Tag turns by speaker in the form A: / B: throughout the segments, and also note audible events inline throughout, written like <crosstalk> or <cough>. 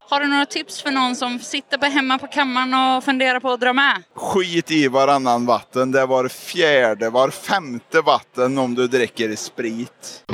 A: Har du några tips för någon som sitter på hemma på kammaren och funderar på att dra med?
B: Skit i varannan vatten. Det var fjärde, var femte vatten om du dricker sprit.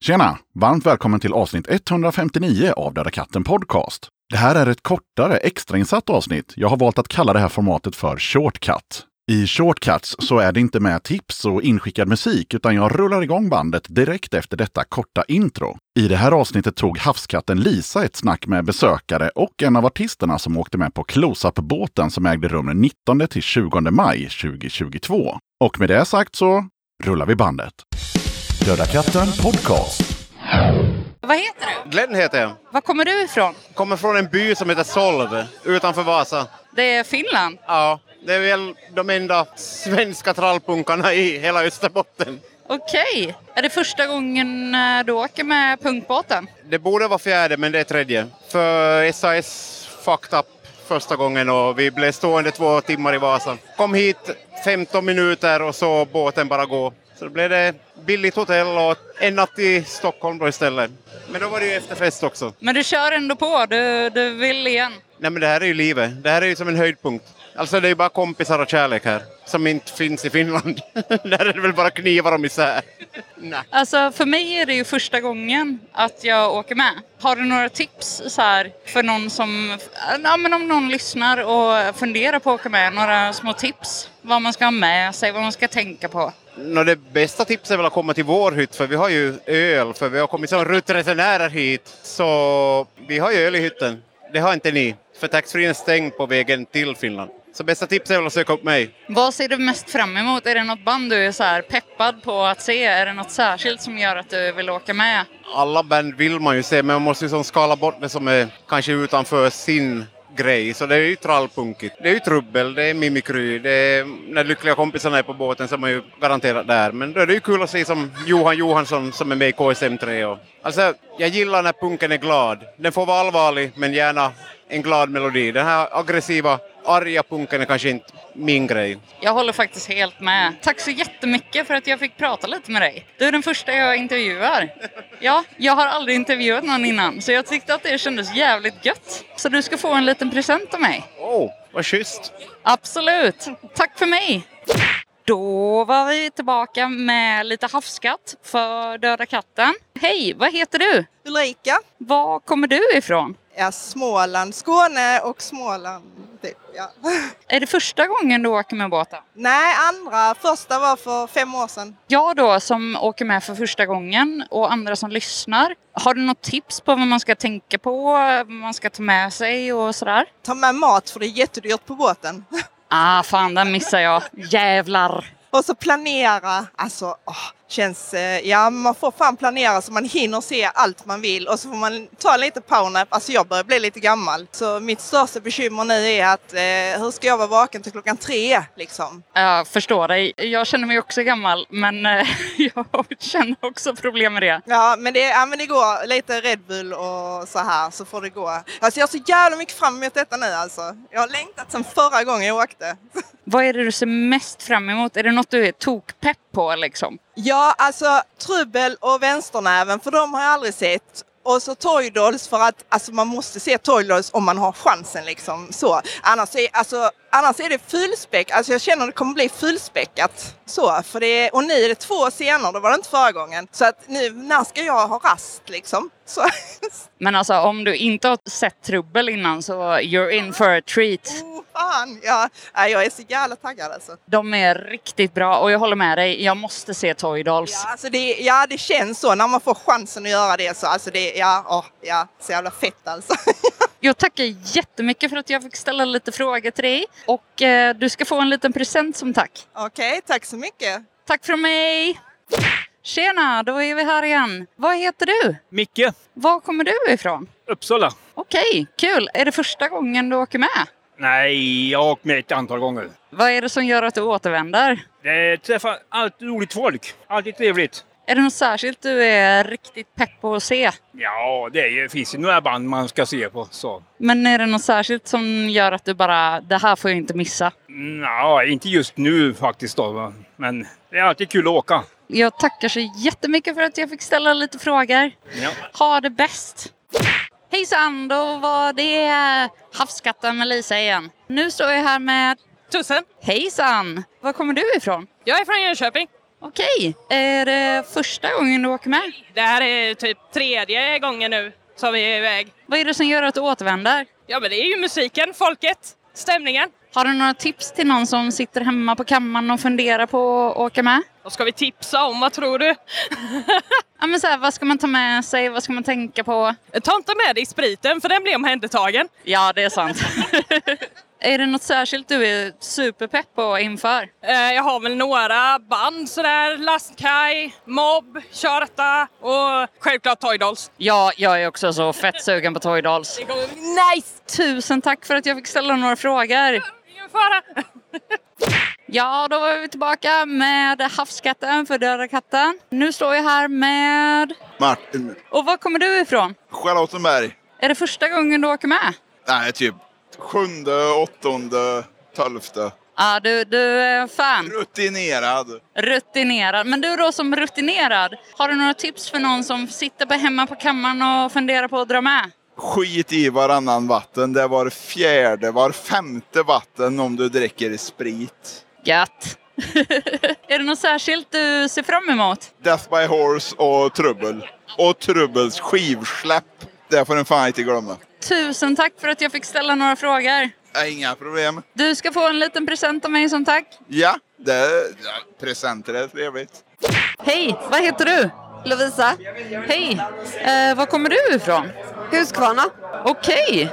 C: Tjena! Varmt välkommen till avsnitt 159 av Döda katten Podcast. Det här är ett kortare, extrainsatt avsnitt. Jag har valt att kalla det här formatet för Shortcut. I Shortcuts så är det inte med tips och inskickad musik, utan jag rullar igång bandet direkt efter detta korta intro. I det här avsnittet tog havskatten Lisa ett snack med besökare och en av artisterna som åkte med på Close-Up-båten som ägde rum den 19 till 20 maj 2022. Och med det sagt så rullar vi bandet. Döda katten Podcast.
A: Vad heter du?
D: Glenn heter jag.
A: Var kommer du ifrån?
D: Kommer från en by som heter Solv utanför Vasa.
A: Det är Finland.
D: Ja, det är väl de enda svenska trallpunkarna i hela Österbotten.
A: Okej. Är det första gången eh, du åker med punkbåten?
D: Det borde vara fjärde, men det är tredje. För SAS fucked up första gången och vi blev stående två timmar i Vasa. Kom hit 15 minuter och så båten bara gå. Så då blev det billigt hotell och en natt i Stockholm då istället. Men då var det ju efterfest också.
A: Men du kör ändå på. Du, du vill igen.
D: Nej men det här är ju livet. Det här är ju som en höjdpunkt. Alltså det är ju bara kompisar och kärlek här. Som inte finns i Finland. <laughs> där är det väl bara knivar och misär. Nej.
A: Alltså för mig är det ju första gången att jag åker med. Har du några tips så här för någon som, ja men om någon lyssnar och funderar på att åka med, några små tips? Vad man ska ha med sig, vad man ska tänka på.
D: Nå, det bästa tipset är väl att komma till vår hytt för vi har ju öl. För vi har kommit som ruttresenärer hit. Så vi har ju öl i hytten. Det har inte ni. För taxfree är stängd på vägen till Finland. Så bästa tipset är väl att söka upp mig.
A: Vad ser du mest fram emot? Är det något band du är så här peppad på att se? Är det något särskilt som gör att du vill åka med?
D: alla band vill man ju se, men man måste ju som skala bort det som är kanske utanför sin grej. Så det är ju trallpunkigt. Det är ju trubbel, det är mimikry, det är när lyckliga kompisarna är på båten så är man ju garanterat där. Men då är det ju kul att se som Johan Johansson som är med i KSM3. Och, alltså, jag gillar när punken är glad. Den får vara allvarlig, men gärna en glad melodi. Den här aggressiva, arga punken är kanske inte min grej.
A: Jag håller faktiskt helt med. Tack så jättemycket för att jag fick prata lite med dig. Du är den första jag intervjuar. Ja, jag har aldrig intervjuat någon innan så jag tyckte att det kändes jävligt gött. Så du ska få en liten present av mig.
D: Åh, oh, vad schysst!
A: Absolut. Tack för mig. Då var vi tillbaka med lite havskatt för Döda katten. Hej, vad heter du?
E: Ulrika.
A: Var kommer du ifrån?
E: Ja, Småland, Skåne och Småland. Typ, ja. <laughs>
A: Är det första gången du åker med båten?
E: Nej, andra. Första var för fem år sedan.
A: Jag då som åker med för första gången och andra som lyssnar. Har du något tips på vad man ska tänka på, vad man ska ta med sig och sådär?
E: Ta med mat för det är jättedyrt på båten. <laughs>
A: Ah, fan, den missar jag. Jävlar!
E: Och så planera. Alltså, åh, känns... eh, Ja, man får fan planera så man hinner se allt man vill och så får man ta lite powernap. Alltså jag börjar bli lite gammal. Så mitt största bekymmer nu är att eh, hur ska jag vara vaken till klockan tre liksom?
A: Jag förstår dig. Jag känner mig också gammal, men eh, <laughs> jag känner också problem med det.
E: Ja, men det, ja, men det går lite Red Bull och så här så får det gå. Alltså jag ser jävla mycket fram emot detta nu alltså. Jag har längtat sedan förra gången jag åkte.
A: Vad är det du ser mest fram emot? Är det något du är tokpepp på liksom?
E: Ja, alltså Trubbel och Vänsternäven, för de har jag aldrig sett. Och så Toydolls för att alltså, man måste se Toydolls om man har chansen liksom. Så. Annars, är, alltså, annars är det fullspäck. Alltså jag känner att det kommer bli fullspäckat. Så, för det är, och nu är det två scener, det var det inte förra gången. Så att nu, när ska jag ha rast liksom? Så. <laughs>
A: Men alltså om du inte har sett trubbel innan så you're in for a treat.
E: Oh, fan, ja. Nej, jag är så jävla taggad alltså.
A: De är riktigt bra och jag håller med dig, jag måste se Toy Dolls.
E: Ja, alltså det, ja, det känns så när man får chansen att göra det. Så, alltså det ja, åh, ja, så jävla fett alltså. <laughs>
A: Jag tackar jättemycket för att jag fick ställa lite frågor till dig och eh, du ska få en liten present som tack.
E: Okej, tack så mycket.
A: Tack från mig! Tjena, då är vi här igen. Vad heter du?
F: Micke,
A: Var kommer du ifrån?
F: Uppsala.
A: Okej, kul! Är det första gången du åker med?
F: Nej, jag har åkt med ett antal gånger.
A: Vad är det som gör att du återvänder?
F: Det träffar alltid roligt folk. Alltid trevligt.
A: Är det något särskilt du är riktigt pepp på att se?
F: Ja, det är, ju- finns ju några band man ska se på. Så.
A: Men är det något särskilt som gör att du bara, det här får jag inte missa?
F: Nja, inte just nu faktiskt då. va. Men det är alltid kul att åka.
A: Jag tackar så jättemycket för att jag fick ställa lite frågor.
F: Ja.
A: Ha det bäst! Hejsan, då var det Havskatten med Lisa igen. Nu står jag här med
G: Tusen.
A: Hejsan! Var kommer du ifrån?
G: Jag är från Jönköping.
A: Okej, är det första gången du åker med?
G: Det här är typ tredje gången nu som vi är iväg.
A: Vad är det som gör att du återvänder?
G: Ja men det är ju musiken, folket, stämningen.
A: Har du några tips till någon som sitter hemma på kammaren och funderar på att åka med?
G: Vad ska vi tipsa om, vad tror du?
A: Ja, men så här, vad ska man ta med sig? Vad ska man tänka på?
G: Ta inte med dig spriten för den blir omhändertagen.
A: Ja, det är sant. <laughs> är det något särskilt du är superpepp på inför?
G: Eh, Jag har väl några band sådär, Lastkaj, Mob, Körta och självklart Toy Dolls.
A: Ja, jag är också så fett sugen på Toy Dolls.
G: Det kommer bli nice!
A: Tusen tack för att jag fick ställa några frågor.
G: Ingen fara.
A: Ja, då var vi tillbaka med havskatten för döda katten. Nu står jag här med...
B: Martin
A: Och var kommer du ifrån?
B: Charlottenberg.
A: Är det första gången du åker med?
B: Nej, typ sjunde, åttonde, tolfte.
A: Ja, du, du är fan.
B: Rutinerad.
A: Rutinerad. Men du då som rutinerad, har du några tips för någon som sitter på hemma på kammaren och funderar på att dra med?
B: Skit i varannan vatten. Det är var fjärde, var femte vatten om du dricker sprit.
A: Gött! <laughs> är det något särskilt du ser fram emot?
B: Death by Horse och Trubbel. Och Trubbels skivsläpp. Det får en fan inte glömma.
A: Tusen tack för att jag fick ställa några frågor.
B: Äh, Inga problem.
A: Du ska få en liten present av mig som tack.
B: Ja, det, ja, presenter är trevligt.
A: Hej, vad heter du?
H: Lovisa,
A: Hej! Eh, var kommer du ifrån?
H: Huskvarna.
A: Okej!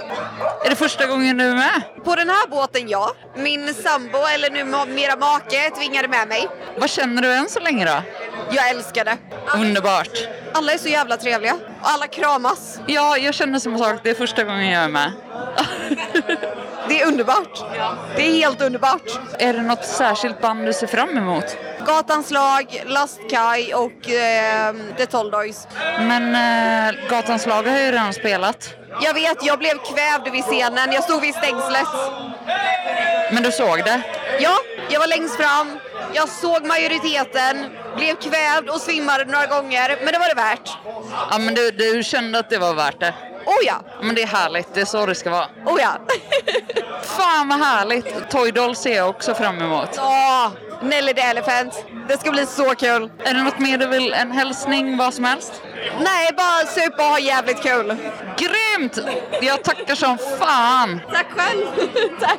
A: Är det första gången du är med?
H: På den här båten, ja. Min sambo, eller numera make, tvingade med mig.
A: Vad känner du än så länge då?
H: Jag älskar det.
A: Underbart!
H: Alla är så jävla trevliga. Och Alla kramas.
A: Ja, jag känner som sagt, det är första gången jag är med.
H: Det är underbart. Det är helt underbart.
A: är det något särskilt band du ser fram emot?
H: Gatans lag, Lastkaj och eh, The Tolldoys.
A: Men eh, Gatans lag har ju redan spelat.
H: Jag vet, jag blev kvävd vid scenen. Jag stod vid stängslet.
A: Men du såg det?
H: Ja, jag var längst fram. Jag såg majoriteten, blev kvävd och svimmade några gånger. Men det var det värt.
A: Ja, men du, du kände att det var värt det.
H: Oh ja,
A: Ja, Men det är härligt, det är så det ska vara.
H: oh ja. <laughs>
A: Fan vad härligt! Toy Doll ser jag också fram emot.
H: Åh, Nelly the Elephant. Det ska bli så kul.
A: Är det något mer du vill? En hälsning? Vad som helst?
H: Nej, bara supa och ha jävligt kul.
A: Grymt! Jag tackar som fan!
H: Tack
I: <laughs>
H: själv. Tack.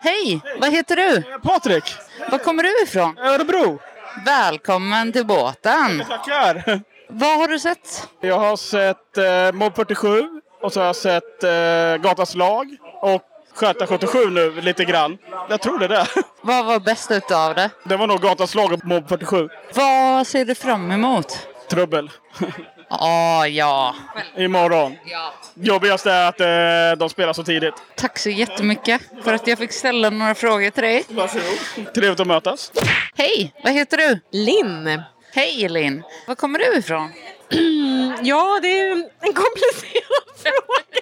A: Hej! Vad heter du?
J: Patrik,
A: Var kommer du ifrån?
J: Örebro.
A: Välkommen till båten!
J: Tackar.
A: Vad har du sett?
J: Jag har sett eh, Mob 47 och så har jag sett eh, Gatans lag och Sköta 77 nu lite grann. Jag tror det <laughs> där.
A: Vad var bäst utav det?
J: Det var nog Gatans lag och Mob 47.
A: Vad ser du fram emot?
J: Trubbel.
A: Ah, ja.
J: Imorgon. Jobbigast är att eh, de spelar så tidigt.
A: Tack så jättemycket för att jag fick ställa några frågor till dig.
J: Trevligt att mötas.
A: Hej! Vad heter du?
I: Linn.
A: Hej Elin! Var kommer du ifrån?
I: Ja, det är en komplicerad <laughs> fråga.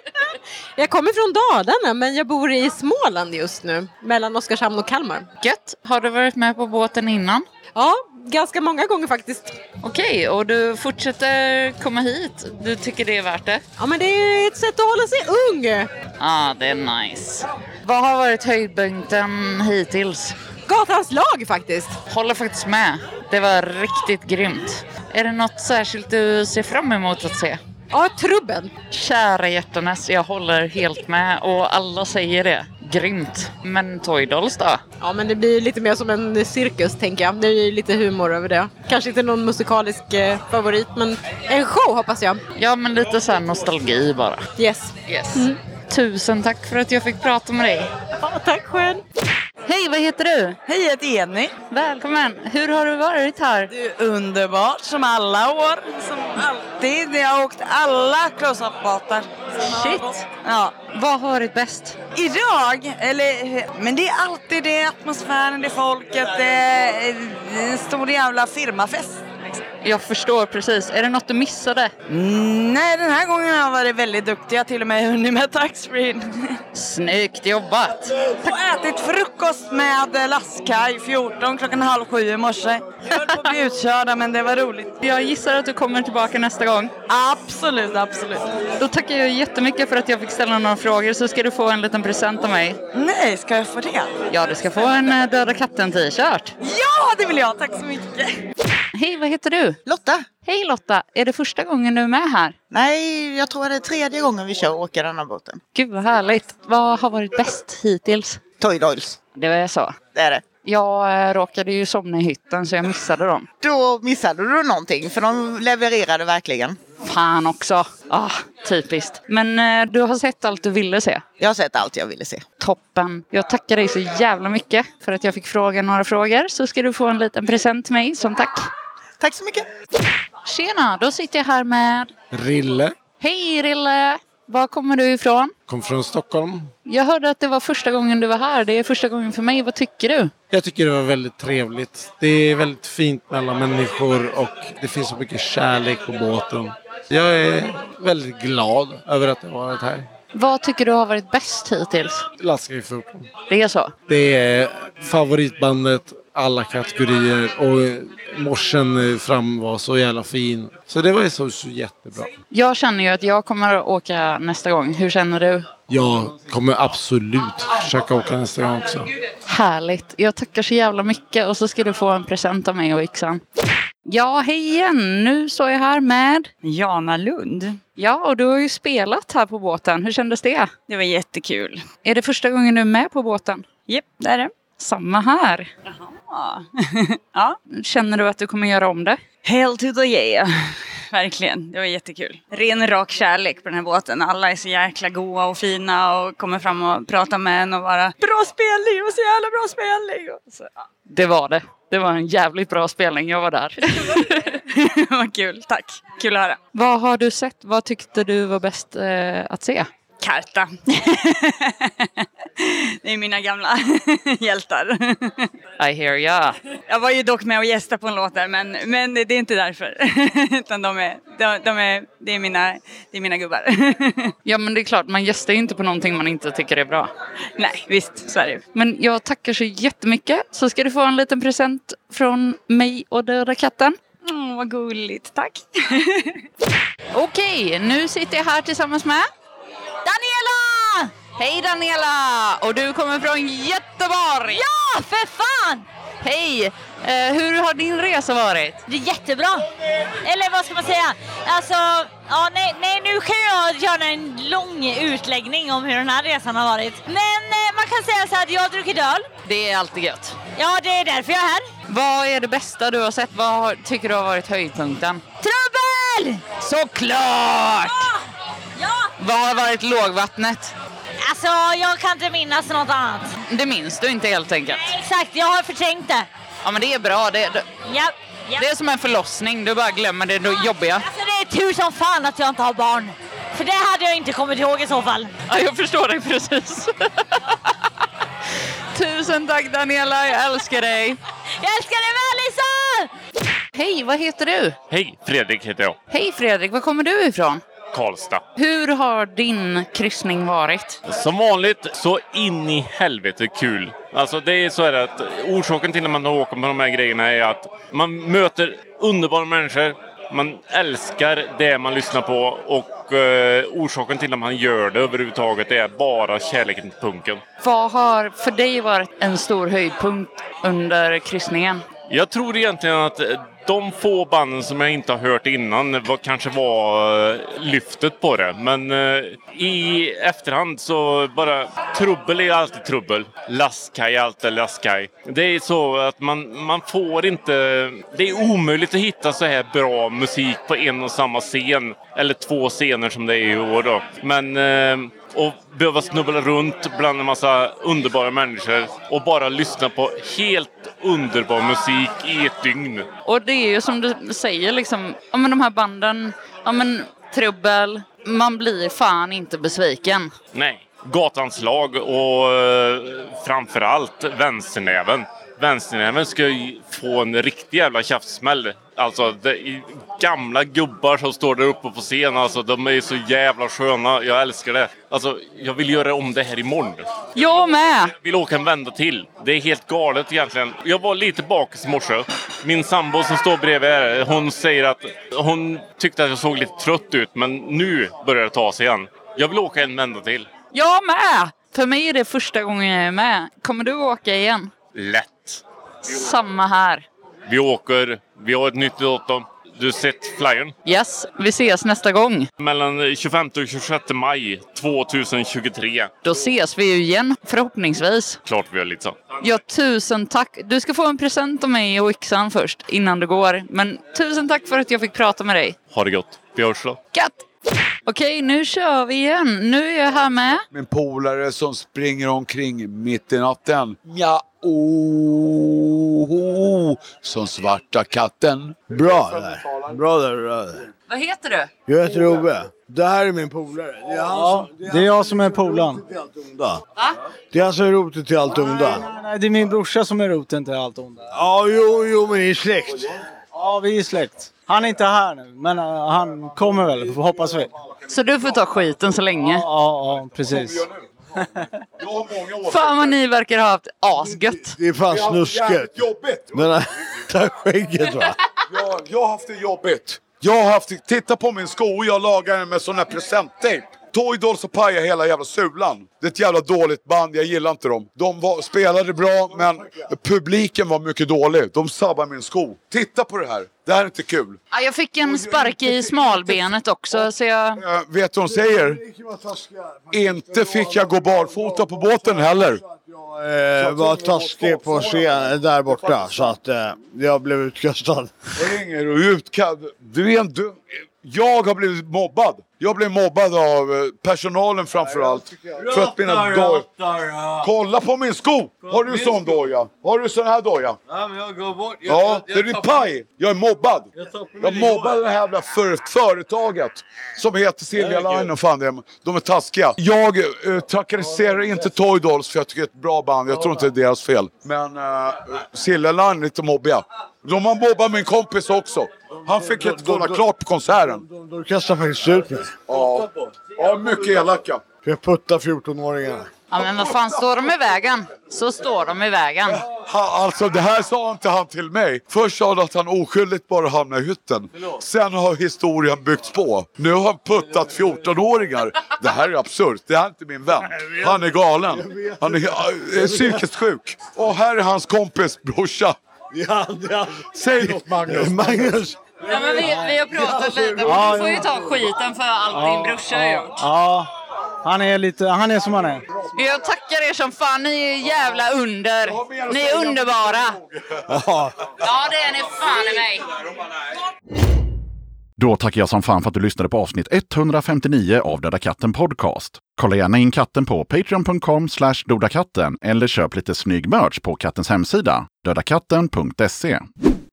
I: Jag kommer från Dalarna, men jag bor i Småland just nu, mellan Oskarshamn och Kalmar.
A: Gött! Har du varit med på båten innan?
I: Ja, ganska många gånger faktiskt.
A: Okej, och du fortsätter komma hit? Du tycker det är värt det?
I: Ja, men det är ett sätt att hålla sig ung.
A: Ah, det är nice. Vad har varit höjdpunkten hittills?
I: Gatans lag faktiskt.
A: Håller faktiskt med. Det var riktigt grymt. Är det något särskilt du ser fram emot att se?
I: Ja, trubben.
A: Kära hjärtanes, jag håller helt med och alla säger det. Grymt. Men Toy Dolls då?
I: Ja, men det blir lite mer som en cirkus, tänker jag. Det är ju lite humor över det. Kanske inte någon musikalisk eh, favorit, men en show hoppas jag.
A: Ja, men lite så här nostalgi bara.
I: Yes.
A: Mm. Yes. Tusen tack för att jag fick prata med dig.
I: Ja, tack själv.
K: Hej, vad heter du? Hej, jag heter Jenny. Välkommen. Hur har du varit här? Du är underbart, som alla år. Som alltid. Jag har åkt alla close up båtar Shit. Ja. Vad har varit bäst? Idag? Eller, men det är alltid det. Atmosfären, det är folket. Det är det är en stor jävla firmafest. liksom.
A: Jag förstår precis. Är det något du missade?
K: Mm, Nej, den här gången har jag varit väldigt duktig. Jag har till och med hunnit med taxfree.
A: Snyggt jobbat!
K: Och ätit frukost med Lastkaj 14 klockan halv sju i morse. Jag höll på att bli utkörda men det var roligt.
A: Jag gissar att du kommer tillbaka nästa gång.
K: Absolut, absolut.
A: Då tackar jag jättemycket för att jag fick ställa några frågor så ska du få en liten present av mig.
K: Nej, ska jag få det?
A: Ja, du ska få en eh, Döda katten-t-shirt.
K: Ja, det vill jag. Tack så mycket.
A: Hej, vad heter du?
L: Lotta.
A: Hej Lotta, är det första gången du är med här?
L: Nej, jag tror det är tredje gången vi kör och åker den här båten.
A: Gud vad härligt. Vad har varit bäst hittills?
L: Toy Doils.
A: Det var så.
L: Det är det.
A: Jag eh, råkade ju somna i hytten så jag missade dem.
L: Då missade du någonting, för de levererade verkligen.
A: Fan också. Ah, typiskt. Men eh, du har sett allt du ville se.
L: Jag har sett allt jag ville se.
A: Toppen. Jag tackar dig så jävla mycket för att jag fick fråga några frågor. Så ska du få en liten present till mig som tack.
L: Tack så mycket.
A: Tjena, då sitter jag här med...
M: Rille.
A: Hej Rille! Var kommer du ifrån?
M: Kom från Stockholm.
A: Jag hörde att det var första gången du var här. Det är första gången för mig. Vad tycker du?
M: Jag tycker det var väldigt trevligt. Det är väldigt fint mellan människor och det finns så mycket kärlek på båten. Jag är väldigt glad över att jag har varit här.
A: Vad tycker du har varit bäst hittills?
M: Laska i 14.
A: Det är så?
M: Det är favoritbandet alla kategorier och morsen fram var så jävla fin. Så det var ju så, så jättebra.
A: Jag känner ju att jag kommer att åka nästa gång. Hur känner du?
M: Jag kommer absolut försöka åka nästa gång också.
A: Härligt. Jag tackar så jävla mycket och så ska du få en present av mig och yxan. Ja, hej igen. Nu står jag här med...
N: Jana Lund.
A: Ja, och du har ju spelat här på båten. Hur kändes det?
N: Det var jättekul.
A: Är det första gången du är med på båten?
N: Japp, det är det.
A: Samma här.
N: Jaha. <laughs>
A: ja. Känner du att du kommer göra om det?
N: Helt ut och ge. <laughs> Verkligen, det var jättekul. Ren rak kärlek på den här båten. Alla är så jäkla goa och fina och kommer fram och pratar med en och bara Bra spelning, och så jävla bra spelning! Och så, ja. <laughs>
A: Det var det. Det var en jävligt bra spelning. Jag var där. <laughs>
N: Vad kul, tack! Kul att höra.
A: Vad har du sett? Vad tyckte du var bäst eh, att se?
N: Karta. <laughs> det är mina gamla <laughs> hjältar.
A: I hear ya.
N: Jag var ju dock med och gästade på en låt där, men, men det är inte därför. <laughs> Utan de är, de, de är, det, är mina, det är mina gubbar. <laughs>
A: Ja, men det är klart, man gästar ju inte på någonting man inte tycker är bra.
N: Nej, visst, så är det ju.
A: Men jag tackar så jättemycket. Så ska du få en liten present från mig och Döda katten.
N: Åh, vad gulligt, tack!
A: <laughs> Okej, nu sitter jag här tillsammans med Daniela! Hej Daniela! Och du kommer från Göteborg! Ja, för fan! Hej! Eh, hur har din resa varit?
O: Det är jättebra. Eller vad ska man säga? Alltså, ja, nej, nej, nu kan jag göra en lång utläggning om hur den här resan har varit. Men eh, man kan säga så här att jag har druckit öl.
A: Det är alltid gött.
O: Ja, det är därför jag är här.
A: Vad är det bästa du har sett? Vad har, tycker du har varit höjdpunkten?
O: Trubbel!
A: Såklart!
O: Ja!
A: Vad har varit lågvattnet?
O: Alltså, jag kan inte minnas något annat.
A: Det minns du inte helt enkelt.
O: Exakt, jag har förträngt det.
A: Ja men det är bra. Det, det,
O: Ja,
A: det är som en förlossning, du bara glömmer det då- jobbiga.
O: alltså det är tur som fan att jag inte har barn. För det hade jag inte kommit ihåg i så fall.
A: Ja, jag förstår dig precis. <laughs> Tusen tack Daniela, jag älskar dig.
O: Jag älskar dig med Lisa!
A: Hej, vad heter du?
P: Hej, Fredrik heter jag.
A: Hej Fredrik, var kommer du ifrån?
P: Karlstad.
A: Hur har din kryssning varit?
P: Som vanligt så in i helvete kul. Alltså det är så här att orsaken till när man åker på de här grejerna är att man möter underbara människor. Man älskar det man lyssnar på och eh, orsaken till att man gör det överhuvudtaget är bara kärleken till punken.
A: Vad har för dig varit en stor höjdpunkt under kryssningen?
P: Jag tror egentligen att de få banden som jag inte har hört innan var, kanske var eh, lyftet på det. Men eh, i efterhand så bara trubbel är alltid trubbel. Lastkaj är alltid lastkaj. Det är så att man, man får inte... Det är omöjligt att hitta så här bra musik på en och samma scen. Eller två scener som det är i år då. Men eh, och behöva snubbla runt bland en massa underbara människor och bara lyssna på helt underbar musik i ett dygn.
A: Och det är ju som du säger, liksom, ja, men de här banden, ja, men, trubbel, man blir fan inte besviken.
P: Nej, Gatans lag och eh, framförallt Vänsternäven. Vänsternäven ska ju få en riktig jävla käftsmäll. Alltså det är gamla gubbar som står där uppe på scen, alltså de är så jävla sköna. Jag älskar det. Alltså, jag vill göra om det här imorgon.
A: Jag med!
P: vill åka en vända till. Det är helt galet egentligen. Jag var lite bakis i morse. Min sambo som står bredvid här, hon säger att hon tyckte att jag såg lite trött ut, men nu börjar det ta sig igen. Jag vill åka en vända till.
A: Jag med! För mig är det första gången jag är med. Kommer du åka igen?
P: Lätt.
A: Samma här.
P: Vi åker. Vi har ett nytt datum. Du har sett flyern?
A: Yes, vi ses nästa gång.
P: Mellan 25 och 26 maj 2023.
A: Då ses vi ju igen, förhoppningsvis.
P: Klart vi har lite så.
A: Ja, tusen tack. Du ska få en present av mig och yxan först, innan du går. Men tusen tack för att jag fick prata med dig.
P: Ha det gott. Vi hörs då.
A: Katt! Okej, nu kör vi igen. Nu är jag här med.
Q: Min polare som springer omkring mitt i natten. Ja, oh, som svarta katten.
R: Bra där. Bra där, bra där.
A: Vad heter du?
R: Jag heter Ove. Det här är min polare. Det är han
S: Ja, det är jag som är polaren.
R: som är onda. Det är han som är roten till allt onda.
S: Nej, det är min brorsa som är roten till allt onda.
R: Ja, jo, jo, men ni är släkt.
S: Ja, vi är släkt. Han är inte här nu, men eh, han kommer väl, hoppas vi.
A: Så du får ta skiten så länge.
S: Ja, ja precis.
A: Fan vad ni verkar ha haft asgött.
R: Det är fan snusket.
Q: Jobbigt!
R: Den här, <laughs> det här skägget va.
Q: Jag, jag har haft det jobbigt. Jag har haft det, titta på min sko, jag lagar den med sån här presenttejp. Toy Dolls och pajade hela jävla sulan. Det är ett jävla dåligt band, jag gillar inte dem. De var, spelade bra, men publiken var mycket dålig. De sabbar min sko. Titta på det här, det här är inte kul.
A: Ja, jag fick en spark i smalbenet också, så jag...
Q: Eh, vet du vad de säger? Inte fick jag gå barfota på båten heller.
R: Jag eh, var taskig på scen där borta så att eh, jag blev utkastad.
Q: ringer och utkad. Du är en du... Jag har blivit mobbad. Jag blev mobbad av eh, personalen framförallt. För att mina doj... Kolla på min sko! Har du sån doja? Har du sån här doja?
T: Ja, men jag går bort. Jag,
Q: Ja, det är din paj! Jag är mobbad.
T: Jag tappar min
Q: Jag mobbar det här jävla för företaget som heter Silja Line och fan det är. De är taskiga. Jag eh, trakasserar inte Toy Dolls för jag tycker det är ett bra band. Jag tror inte det är deras fel. Men uh, Silja Line är lite mobbiga. De har mobbat min kompis också. Han fick inte kolla klart på konserten.
R: De kastade faktiskt ut mig.
Q: Ja, ja mycket elaka.
R: För jag puttade 14-åringarna.
A: Ja, men vad fan, står de i vägen så står de i vägen.
Q: Han, alltså det här sa inte han till mig. Först sa han att han oskyldigt bara hamnade i hytten. Sen har historien byggts på. Nu har han puttat 14-åringar. Det här är absurt. Det här är inte min vän. Han är galen. Han är, är psykiskt sjuk. Och här är hans kompis brorsa. Säg något Magnus.
R: Magnus.
A: Ja, men vi, vi har pratat lite.
S: Ja,
A: Du får ju
S: ja.
A: ta skiten för allt din brorsa har gjort.
S: Ja, han är lite, han är som han är.
A: Jag tackar er som fan. Ni är jävla under. Ni är underbara.
S: Ja.
A: Ja, det är ni fan i mig.
C: Då tackar jag som fan för att du lyssnade på avsnitt 159 av Döda katten podcast. Kolla gärna in katten på patreon.com slash dodakatten eller köp lite snygg merch på kattens hemsida, dödakatten.se.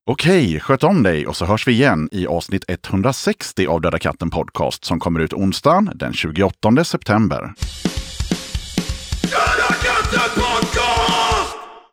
C: Okej, sköt om dig och så hörs vi igen i avsnitt 160 av Döda katten podcast som kommer ut onsdagen den 28 september.
T: Döda katten på